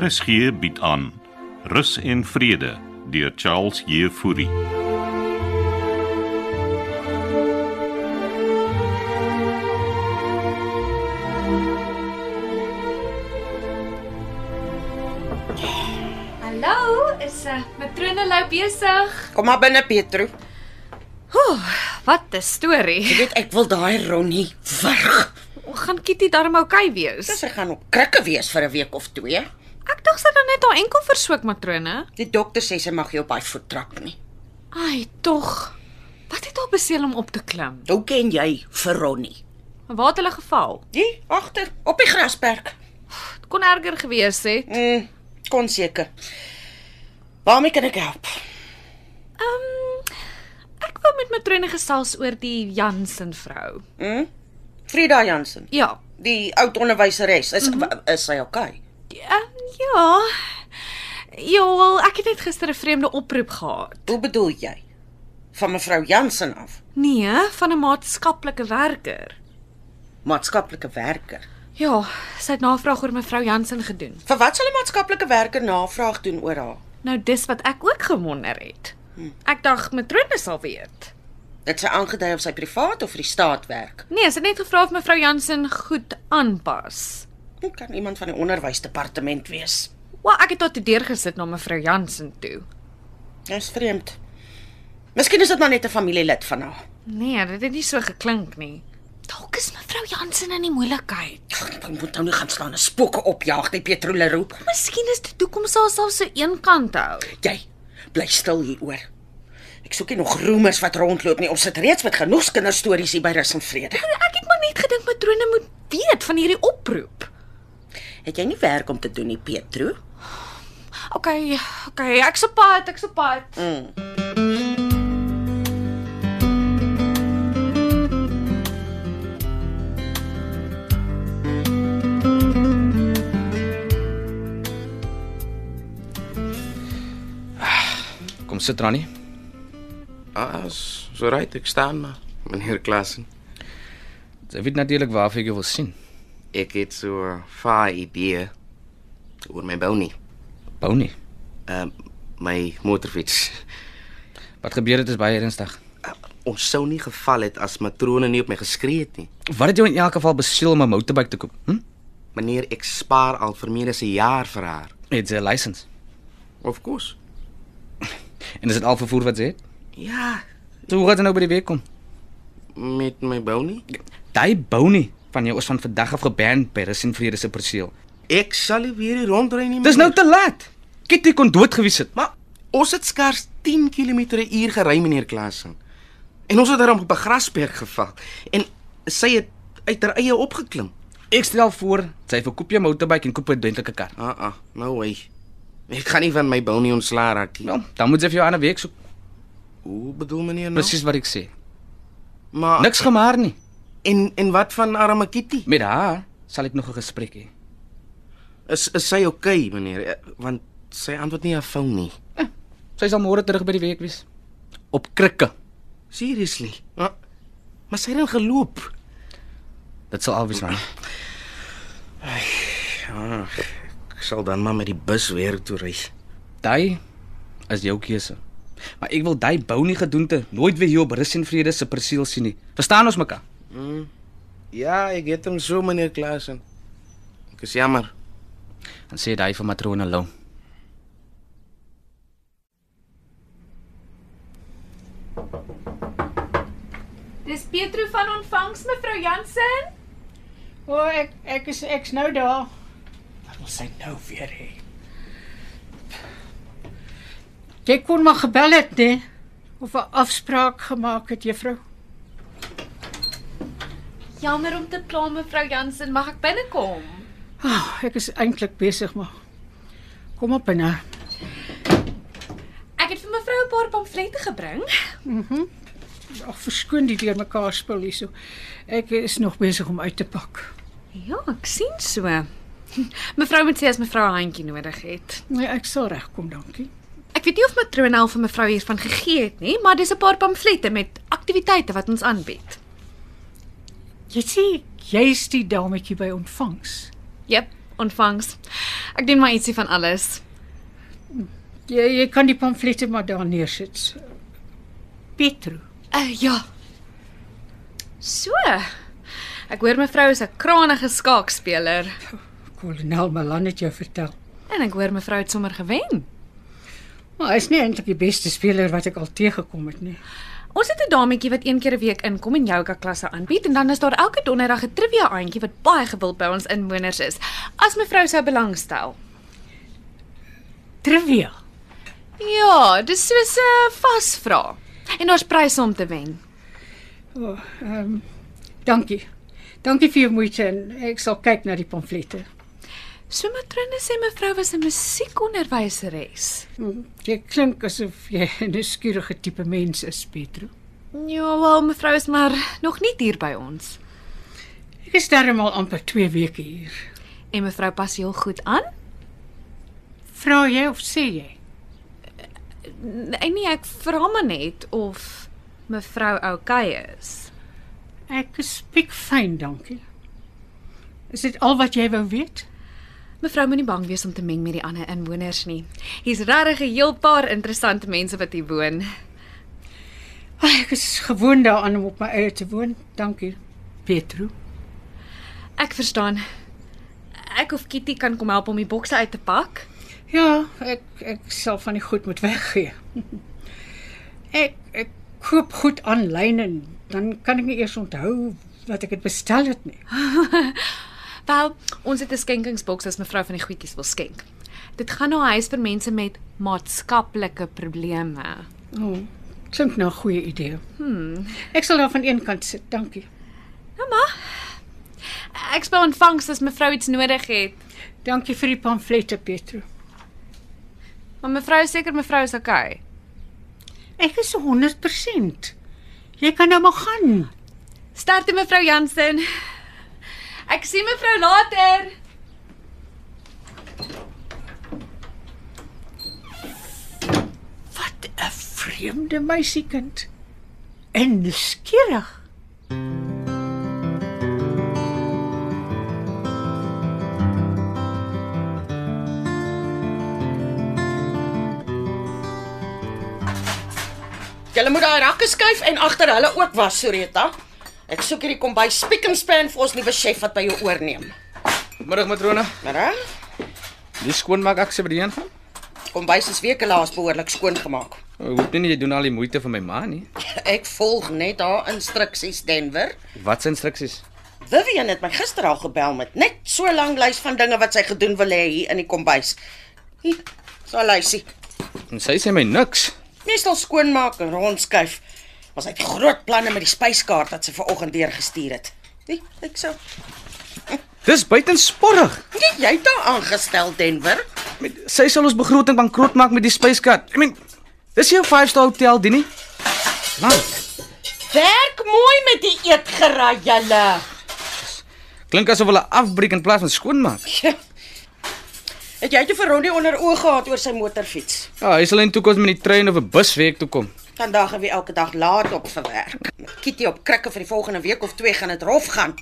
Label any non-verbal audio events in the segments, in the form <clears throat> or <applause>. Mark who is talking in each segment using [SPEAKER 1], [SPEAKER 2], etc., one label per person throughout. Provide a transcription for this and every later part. [SPEAKER 1] RSG bied aan Rus en Vrede deur Charles Jefouri.
[SPEAKER 2] Hallo, is 'n uh, matrone Lou besig.
[SPEAKER 3] Kom maar binne Petro.
[SPEAKER 2] Ooh, wat 'n storie.
[SPEAKER 3] Jy weet ek wil daai Ronnie wurg.
[SPEAKER 2] Gaan Kitty darm oukei okay
[SPEAKER 3] Dis
[SPEAKER 2] wees?
[SPEAKER 3] sy gaan op krikke wees vir 'n week of twee.
[SPEAKER 2] Ek dink sy het dan net haar enkel verswak matrone.
[SPEAKER 3] Die dokter sê sy mag nie op daai voet trap nie.
[SPEAKER 2] Ai, tog. Wat het haar beseel om op te klim?
[SPEAKER 3] Hoe ken jy vir Ronnie?
[SPEAKER 2] Waar het hulle geval?
[SPEAKER 3] Die agter op die grasperk.
[SPEAKER 2] Dit kon erger gewees het.
[SPEAKER 3] Mm, kon seker. Waarmee kan ek help?
[SPEAKER 2] Ehm um, ek wou met matrone gesels oor die Jansen vrou.
[SPEAKER 3] Mm? Frida Jansen,
[SPEAKER 2] Ja.
[SPEAKER 3] die oud onderwyseres, is mm -hmm. is sy okay?
[SPEAKER 2] Ehm um, ja. Ja, wel, ek het net gister 'n vreemde oproep gehad.
[SPEAKER 3] Hoe bedoel jy? Van mevrou Jansen af,
[SPEAKER 2] Nee, van 'n maatskaplike werker.
[SPEAKER 3] maatskaplike werker.
[SPEAKER 2] Ja, sy het navraag oor mevrou Jansen gedoen.
[SPEAKER 3] Vir wat sal 'n maatskaplike werker navraag doen oor haar?
[SPEAKER 2] Nou dis wat ek ook gewonder het. Ek dacht matrone sal weet.
[SPEAKER 3] Dit sy aangedui of sy privaat of vir die staat werk.
[SPEAKER 2] Nee, sy het net gevra of mevrou Jansen goed aanpas.
[SPEAKER 3] Hoe kan iemand van die onderwysdepartement wees?
[SPEAKER 2] Wel, ek het tot die deur gesit na mevrou Jansen toe.
[SPEAKER 3] Dis vreemd. Miskien is dit maar net 'n familielid van haar.
[SPEAKER 2] Nee, dit het nie so geklink nie. Dalk is mevrou Jansen in die moeilikheid.
[SPEAKER 3] Ag, Ek moet nou nie gaan staan en spooke opjaag nie, Petroleroe.
[SPEAKER 2] Miskien is die toekoms alself so eenkant hou.
[SPEAKER 3] Jy bly stil hieroor. Ek soek nie nog roemers wat rondloop nie. Ons sit reeds met genoeg kinderstories hier by Rus en Vrede.
[SPEAKER 2] Ek het maar net gedink matrone moet weet van hierdie oproep.
[SPEAKER 3] Het jy nie werk om te doen nie, Petro?
[SPEAKER 2] OK, OK, ek's op pad, ek's op pad.
[SPEAKER 4] Kom sit Rani.
[SPEAKER 5] Ah, is so right, ek staan maar. Meneer Klassen,
[SPEAKER 4] Jy weet natuurlik waarvoor ek jou wil sien.
[SPEAKER 5] ek het so 'n vaai idee oor my bou nie.
[SPEAKER 4] Bou nie.
[SPEAKER 5] Ehm uh, my motorfiets. <laughs>
[SPEAKER 4] Wat gebeur het is baie ernstig.
[SPEAKER 5] Uh, ons sou nie geval het as matrone nie op my geskree het nie.
[SPEAKER 4] Wat het jou in elk geval besiel om 'n motorbike te koop? Hm?
[SPEAKER 5] Meneer, ek spaar al vir meer as 'n jaar vir haar.
[SPEAKER 4] Het jy 'n lisensie?
[SPEAKER 5] Of course.
[SPEAKER 4] En is dit al vervoer wat jy het?
[SPEAKER 5] Ja,
[SPEAKER 4] So hoe gaan dit nou by die week kom?
[SPEAKER 5] met my bou nie.
[SPEAKER 4] Daai bou nie van jou is van vandag af geban by Rus en Vrede se perseel.
[SPEAKER 5] Ek sal nie weer hier rondry nie.
[SPEAKER 4] Dis nou
[SPEAKER 5] meneer.
[SPEAKER 4] te laat. Kitty kon dood gewees het.
[SPEAKER 5] Maar ons het skars 10 km/h gery, meneer Klassen. En ons het daarom op 'n grasperk geval en sy het uit haar eie opgeklim.
[SPEAKER 4] Ek stel voor, jy verkoop jou motorbike en koop 'n dentelike kar.
[SPEAKER 5] Ah ah, nou hy. Ek gaan nie van my bil nie ontslaa raak nie.
[SPEAKER 4] Wel, Ja, dan moet jy vir jou ander week soek.
[SPEAKER 5] Hoe bedoel meneer nou?
[SPEAKER 4] Presies wat ek sê.
[SPEAKER 5] Maar
[SPEAKER 4] Niks gemaar nie.
[SPEAKER 5] en en wat van arme Kitty?
[SPEAKER 4] Met haar sal ek nog 'n gesprek hê.
[SPEAKER 5] Is is sy okay meneer? Eh, Want sy antwoord nie haar foon nie.
[SPEAKER 4] Sy sal môre terug by die week wees. Op krikke.
[SPEAKER 5] Seriously. Maar, maar sy het dan geloop.
[SPEAKER 4] Dit sal alwees nou.
[SPEAKER 5] Ag, ek sal dan maar met die bus weer toe ry.
[SPEAKER 4] Daai is jou keuse. Maar ek wil daai bou nie gedoente nooit weer hier op Rus en Vrede se perseel sien nie. Verstaan ons mekaar?
[SPEAKER 5] Ja, ek het hom so meneer Klasen. Ek is jammer.
[SPEAKER 4] Dan sê daai vir matrone Lou.
[SPEAKER 2] Dis Petro van ontvangs mevrou Jansen.
[SPEAKER 6] O, oh, ek ek is ek's nou daar.
[SPEAKER 3] Wat wil sy nou weer hê?
[SPEAKER 6] Jy kon maar gebel het, né? Of 'n afspraak gemaak het, juffrou.
[SPEAKER 2] Jammer om te pla mevrou Jansen, mag ek binnekom?
[SPEAKER 6] Oh, ek is eintlik besig maar. Kom op eh. binne.
[SPEAKER 2] Ek het vir mevrou 'n paar pamflette gebring.
[SPEAKER 6] Ag, verskoon die deurmekaar spul hierso. Ek is nog besig om uit te pak.
[SPEAKER 2] Ja, ek sien so. <laughs> Mevrou moet sê as mevrou 'n handjie nodig het.
[SPEAKER 6] Nee, ek sal regkom, dankie.
[SPEAKER 2] Ek weet nie of matrone al vir mevrou hiervan gegee het nie, maar dis 'n paar pamflette met aktiwiteite wat ons aanbied.
[SPEAKER 6] Jy sê jy's die dametjie by ontvangs.
[SPEAKER 2] Jep, ontvangs. Ek doen maar ietsie van alles.
[SPEAKER 6] Jy jy kan die pamflette maar daar neersit. Petro.
[SPEAKER 2] Uh, ja. So. Ek hoor mevrou is 'n kranige skaakspeler
[SPEAKER 6] Kolonel Malan het jou vertel.
[SPEAKER 2] en ek hoor mevrou het sommer gewen.
[SPEAKER 6] Maar hy's nie eintlik die beste speler wat ek al teëgekom het nie.
[SPEAKER 2] Ons het 'n dametjie wat een keer 'n week inkom en yoga klasse aanbied en dan is daar elke donderdag 'n trivia aandjie wat baie gewild by ons inwoners is. As mevrou sou belangstel.
[SPEAKER 6] Trivia.
[SPEAKER 2] Ja, dis soos 'n vasvra. En daar's pryse om te wen.
[SPEAKER 6] O, Ehm oh, um, dankie. Dankie vir jou moeite en ek sal kyk na die pamflette.
[SPEAKER 2] So matrone sê mevrou was 'n musiekonderwyseres.
[SPEAKER 6] Hm, Jy klink asof jy 'n nuuskierige tipe mens is, Petro.
[SPEAKER 2] Ja, wel mevrou is maar nog nie hier by ons.
[SPEAKER 6] Ek is darmal amper 2 weke hier.
[SPEAKER 2] En mevrou pas heel goed aan.
[SPEAKER 6] Vra jy of sê jy?
[SPEAKER 2] Nee, nee, ek vra maar net of mevrou oukei is.
[SPEAKER 6] Ek is piekfyn, dankie. Is dit al wat jy wou weet?
[SPEAKER 2] Mevrou moenie bang wees om te meng met die ander inwoners nie. Hier's regtig 'n heel paar interessante mense wat hier woon.
[SPEAKER 6] Ag, ek is gewoond daaraan om op my eie te woon. Dankie, Petro.
[SPEAKER 2] Ek verstaan. Ek of Kitty kan kom help om die bokse uit te pak.
[SPEAKER 6] Ja, ek ek sal van die goed moet weggee. <laughs> Ek ek koop goed aanlyn en dan kan ek nie eers onthou wat ek dit bestel het nie.
[SPEAKER 2] Wel, ons het 'n skenkingsboks as mevrou van die goedjies wil skenk. Dit gaan na 'n huis vir mense met maatskaplike probleme.
[SPEAKER 6] O, oh, klink na 'n goeie idee. Hm.
[SPEAKER 2] Hmm.
[SPEAKER 6] Ek sal daar van een kant sit, dankie.
[SPEAKER 2] Ja, Ek spel ontvangs as mevrou iets nodig het.
[SPEAKER 6] Dankie vir die pamflette, Petro.
[SPEAKER 2] Maar mevrou is seker mevrou is okay.
[SPEAKER 6] Ek is 100%. Jy kan nou maar gaan.
[SPEAKER 2] Sterkte mevrou Jansen. Ek sien mevrou later.
[SPEAKER 6] Wat 'n vreemde meisiekind. En nuuskierig.
[SPEAKER 3] Julle moet daai rakke skuif en agter hulle ook was, Soreta. Ek soek hierdie kombuis spiek en span vir ons nuwe chef wat by jou oorneem.
[SPEAKER 4] Middag matrone.
[SPEAKER 3] Maar hè,
[SPEAKER 4] Dis skoonmaak ek se by die een gaan.
[SPEAKER 3] kombuis is weke laas behoorlik skoongemaak.
[SPEAKER 4] Ek hoop nie jy doen al die moeite vir my ma nie.
[SPEAKER 3] Ek volg net haar instruksies, Denver.
[SPEAKER 4] Wat se instruksies?
[SPEAKER 3] Vivian het my gister al gebel met net so lank lys van dinge wat sy gedoen wil hê hier in die kombuis. Hier, so lysie.
[SPEAKER 4] En sy sê my niks.
[SPEAKER 3] Meestal skoonmaak en rondskuif. Was hy groot planne met die spyskaart wat sy vanoggend deurgestuur het. Wie, ek sou.
[SPEAKER 4] Dis buitensporig.
[SPEAKER 3] Nee, jy het haar aangestel, Denver.
[SPEAKER 4] Met sy sal ons begroting bankrot maak met die spyskaart. I mean, dis jou 5-star hotel, dit nie? Man,
[SPEAKER 3] Werk mooi met die eetgerei julle.
[SPEAKER 4] klink asof hulle afbreek in plaas van skoonmaak.
[SPEAKER 3] Ja. Het jy toe vir Ronnie onder oë gehad oor sy motorfiets?
[SPEAKER 4] Ja, hy sal in toekoms met die trein of 'n bus week toe kom.
[SPEAKER 3] Vandag en weer elke dag laat op vir werk. Met Kitty op krikke vir die volgende week of twee gaan dit rof gaan.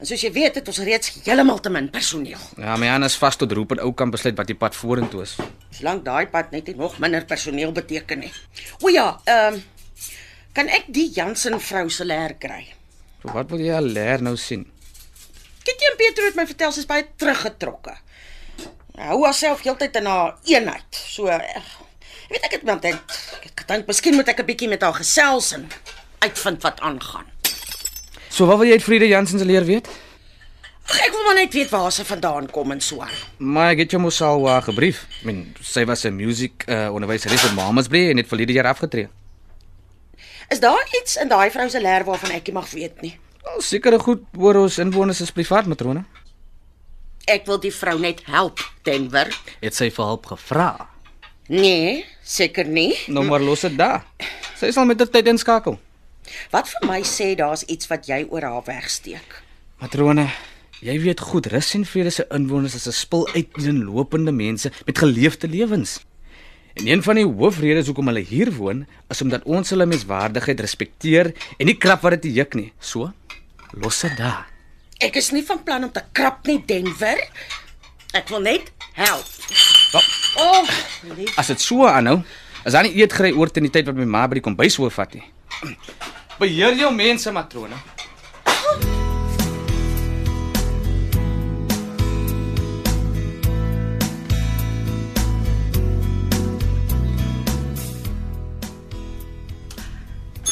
[SPEAKER 3] En soos jy weet, het ons reeds heeltemal te min personeel.
[SPEAKER 4] Ja, my Anna is vas tot Rupert Oukamp besluit wat die pad vorentoe is.
[SPEAKER 3] Solank daai pad net nie nog minder personeel beteken nie. O ja, ehm kan ek die Jansen vrou se leer kry?
[SPEAKER 4] So wat wil jy al leer nou sien?
[SPEAKER 3] Kitty en Pietro het my vertel sy's baie teruggetrokke. Hou haarself heeltyd in haar eenheid. So eh, ek weet ek het maar dink ek dink miskien moet ek 'n bietjie met haar gesels en uitvind wat aangaan.
[SPEAKER 4] So wat wil jy uit Friede Jansen se leer weet?
[SPEAKER 3] Ag ek wil maar net weet waar sy vandaan kom en so aan.
[SPEAKER 4] Maar ek het jou mos al uh, gebrief. I mean, sy was 'n musiek uh, onderwyseres in Mamasbury en het verlede jaar afgetree.
[SPEAKER 3] Is daar iets in daai vrou se leer waarvan ek nie mag weet nie?
[SPEAKER 4] Wel, sekere goed oor ons inwoners is privaat matrone.
[SPEAKER 3] Ek wil die vrou net help, Denver.
[SPEAKER 4] Het sy vir hulp gevra?
[SPEAKER 3] Nee, seker nie.
[SPEAKER 4] Nou maar los dit daar. Sy sal met ter tyd inskakel.
[SPEAKER 3] Wat vir my sê daar's iets wat jy oor haar wegsteek.
[SPEAKER 4] Matrone, jy weet goed, rus en vrede se inwoners is 'n spul uiteenlopende mense met geleefde lewens. En een van die hoofredes hoekom hulle hier woon, is omdat ons hulle menswaardigheid respekteer en nie krap wat dit juk nie. So, los dit daar.
[SPEAKER 3] Ek is nie van plan om te krap nie, Denver. Ek wil net help.
[SPEAKER 4] As dit so aanhou, is daar nie eetgery oor teen die tyd wat my ma by die kombuis hoor vat nie. <clears throat> Beheer jou mense, matrone.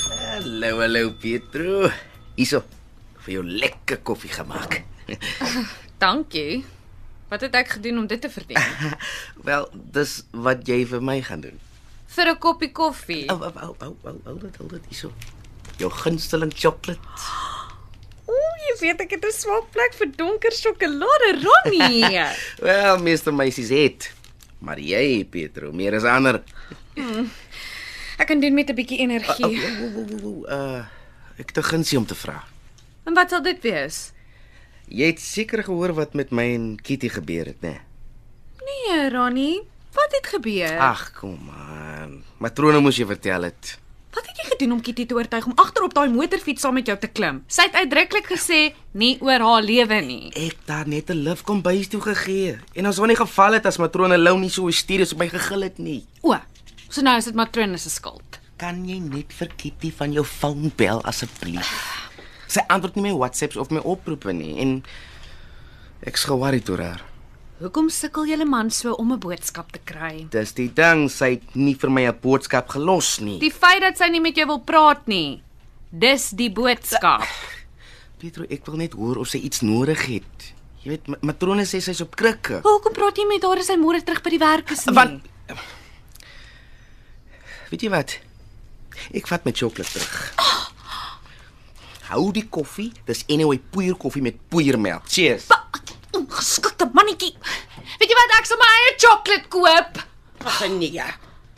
[SPEAKER 5] Hallo, hallo Pietro. Hierso vir jou lekker koffie gemaak. <laughs>
[SPEAKER 2] Dankie. Wat het ek gedoen om dit te verdien?
[SPEAKER 5] Wel, dis wat jy vir my gaan doen.
[SPEAKER 2] Vir 'n koppie koffie.
[SPEAKER 5] Ou, ou, ou, ou, ou, hou dit, hou dit hierso. Jou gunsteling sjokolade.
[SPEAKER 2] Ooh, jy weet ek het 'n swak plek vir donker sjokolade, Ronnie.
[SPEAKER 5] Wel, meeste meisies het, maar jy, Pietro, meer as ander.
[SPEAKER 2] ek kan doen met 'n bietjie
[SPEAKER 5] Ou,
[SPEAKER 2] energie.
[SPEAKER 5] ou, ou, ou, ou, Uh, ek het 'n gunsie om te vra.
[SPEAKER 2] En wat sal dit wees?
[SPEAKER 5] Jy het seker gehoor wat met my en Kitty gebeur het, né? Nee?
[SPEAKER 2] Nee, Ronnie, wat het gebeur?
[SPEAKER 5] Ag, kom aan. Matrone moes jy vertel het.
[SPEAKER 2] Wat het jy gedoen om Kitty te oortuig om agterop daai motorfiets saam met jou te klim? Sy het uitdruklik gesê nie oor haar lewe nie.
[SPEAKER 5] Ek het daar net 'n lif kom bys toe gegee en ons wou nie geval het as matrone Lou nie so gestuur is op my gegil het nie.
[SPEAKER 2] O, so nou is dit Matrone se skuld.
[SPEAKER 5] Kan jy net vir Kitty van jou foon bel asseblief? Sy antwoord nie my WhatsApps of my oproepe nie en ek's ge-worried oor haar.
[SPEAKER 2] Hoekom sukkel julle man so om 'n boodskap te kry?
[SPEAKER 5] Dis die ding, sy het nie vir my 'n boodskap gelos nie.
[SPEAKER 2] Die feit dat sy nie met jou wil praat nie. Dis die boodskap.
[SPEAKER 5] Pietro, ek wil net hoor of sy iets nodig het. Jy weet, ma- matrone sê sy's op krikke.
[SPEAKER 2] Hoekom praat jy met haar as sy môre terug by die werk is nie?
[SPEAKER 5] Want Weet jy wat? Ek vat my sjokolade terug. Hou die koffie, dis anyway poeier koffie met poeiermelk. Cheers.
[SPEAKER 2] ongeskikte Ah, mannetjie. Weet jy wat ek sommer eie sjokolade koop?
[SPEAKER 3] Ag nee.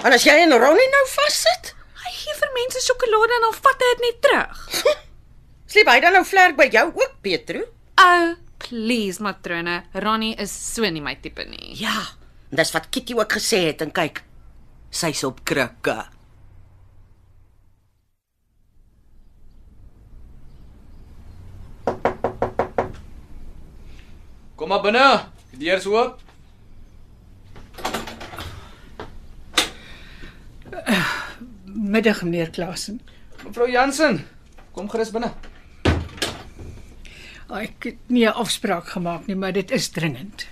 [SPEAKER 3] En as jy en Ronnie nou vassit,
[SPEAKER 2] Hy gee vir mense sjokolade en dan vat hy dit net terug.
[SPEAKER 3] sleep hy dan nou vlerk by jou ook, Pietro?
[SPEAKER 2] Ou, oh, please matrone, Ronnie is so nie my tipe nie.
[SPEAKER 3] Ja. Dis wat Kitty ook gesê het en kyk, sy's op krikke.
[SPEAKER 4] Kom maar binne. Die deur is oop.
[SPEAKER 6] Middag meneer Klasen.
[SPEAKER 4] Mevrou Jansen, kom gerus binne.
[SPEAKER 6] Ah, Ek het nie 'n afspraak gemaak nie, maar dit is dringend.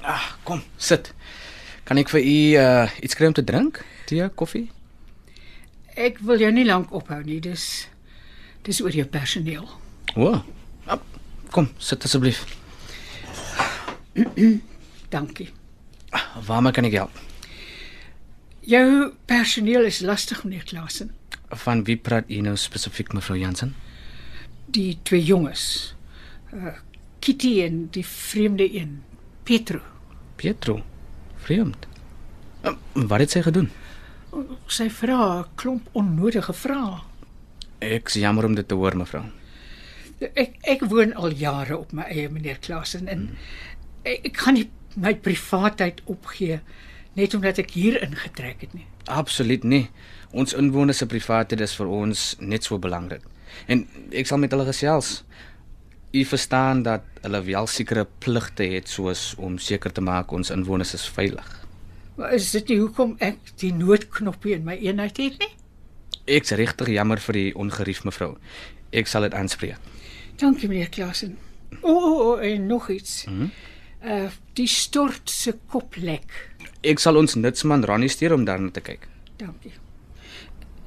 [SPEAKER 4] Ag, kom, sit. Kan ek vir u uh, iets kry om te drink? Tee, koffie?
[SPEAKER 6] Ek wil jou nie lank ophou nie, dis dis oor jou personeel.
[SPEAKER 4] O. Wow. Kom, sit asseblief.
[SPEAKER 6] Dankie.
[SPEAKER 4] Waarmee kan ek help?
[SPEAKER 6] Jou personeel is lastig meneer Klasen.
[SPEAKER 4] Van wie praat u nou spesifiek mevrou Jansen?
[SPEAKER 6] Die twee jonges. Uh, Kitty en die vreemde een, Petro.
[SPEAKER 4] Pietro. Vreemd. Uh, wat het sy gedoen?
[SPEAKER 6] Sy vra 'n klomp onnodige vrae.
[SPEAKER 4] Ek's jammer om dit te hoor mevrou.
[SPEAKER 6] Ek ek woon al jare op my eie meneer Klasen en ek, ek gaan nie my privaatheid opgee net omdat ek hier ingetrek het nie.
[SPEAKER 4] Absoluut nie. Ons inwoners se privaatheid is vir ons net so belangrik. En ek sal met hulle gesels. U verstaan dat hulle wel sekere pligte het soos om seker te maak ons inwoners is veilig.
[SPEAKER 6] Maar is dit nie hoekom ek die noodknoppie in my eenheid het nie?
[SPEAKER 4] Ek's regtig jammer vir die ongerief mevrou. Ek sal dit aanspreek.
[SPEAKER 6] Dankie meneer Klasen. O, oh, oh, oh, en nog iets. Mm -hmm. Uh die stort se koplek.
[SPEAKER 4] Ek sal ons nutsman Ronnie stuur om daarna te kyk.
[SPEAKER 6] Dankie.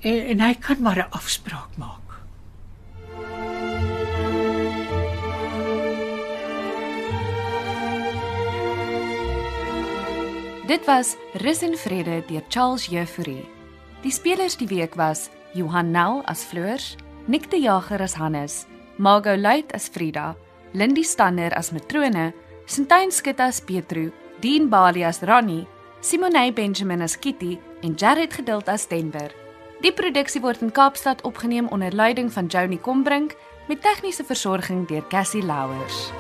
[SPEAKER 6] En, en hy kan maar 'n afspraak maak.
[SPEAKER 2] Dit was Rus en Vrede deur Charles Jefouri. Die spelers die week was Johan Nel as Floors, Nick die Jager as Hannes, Margot Luit as Frida, Lindy Stander as Matrone, Sintyn Skutte as Petro, Dean Bali as Ronnie, Simonay Benjamin as Kitty en Jared Geduld as Denver. Die produksie word in Kaapstad opgeneem onder leiding van Johnny Combrink met tegniese versorging deur Cassie Louwers.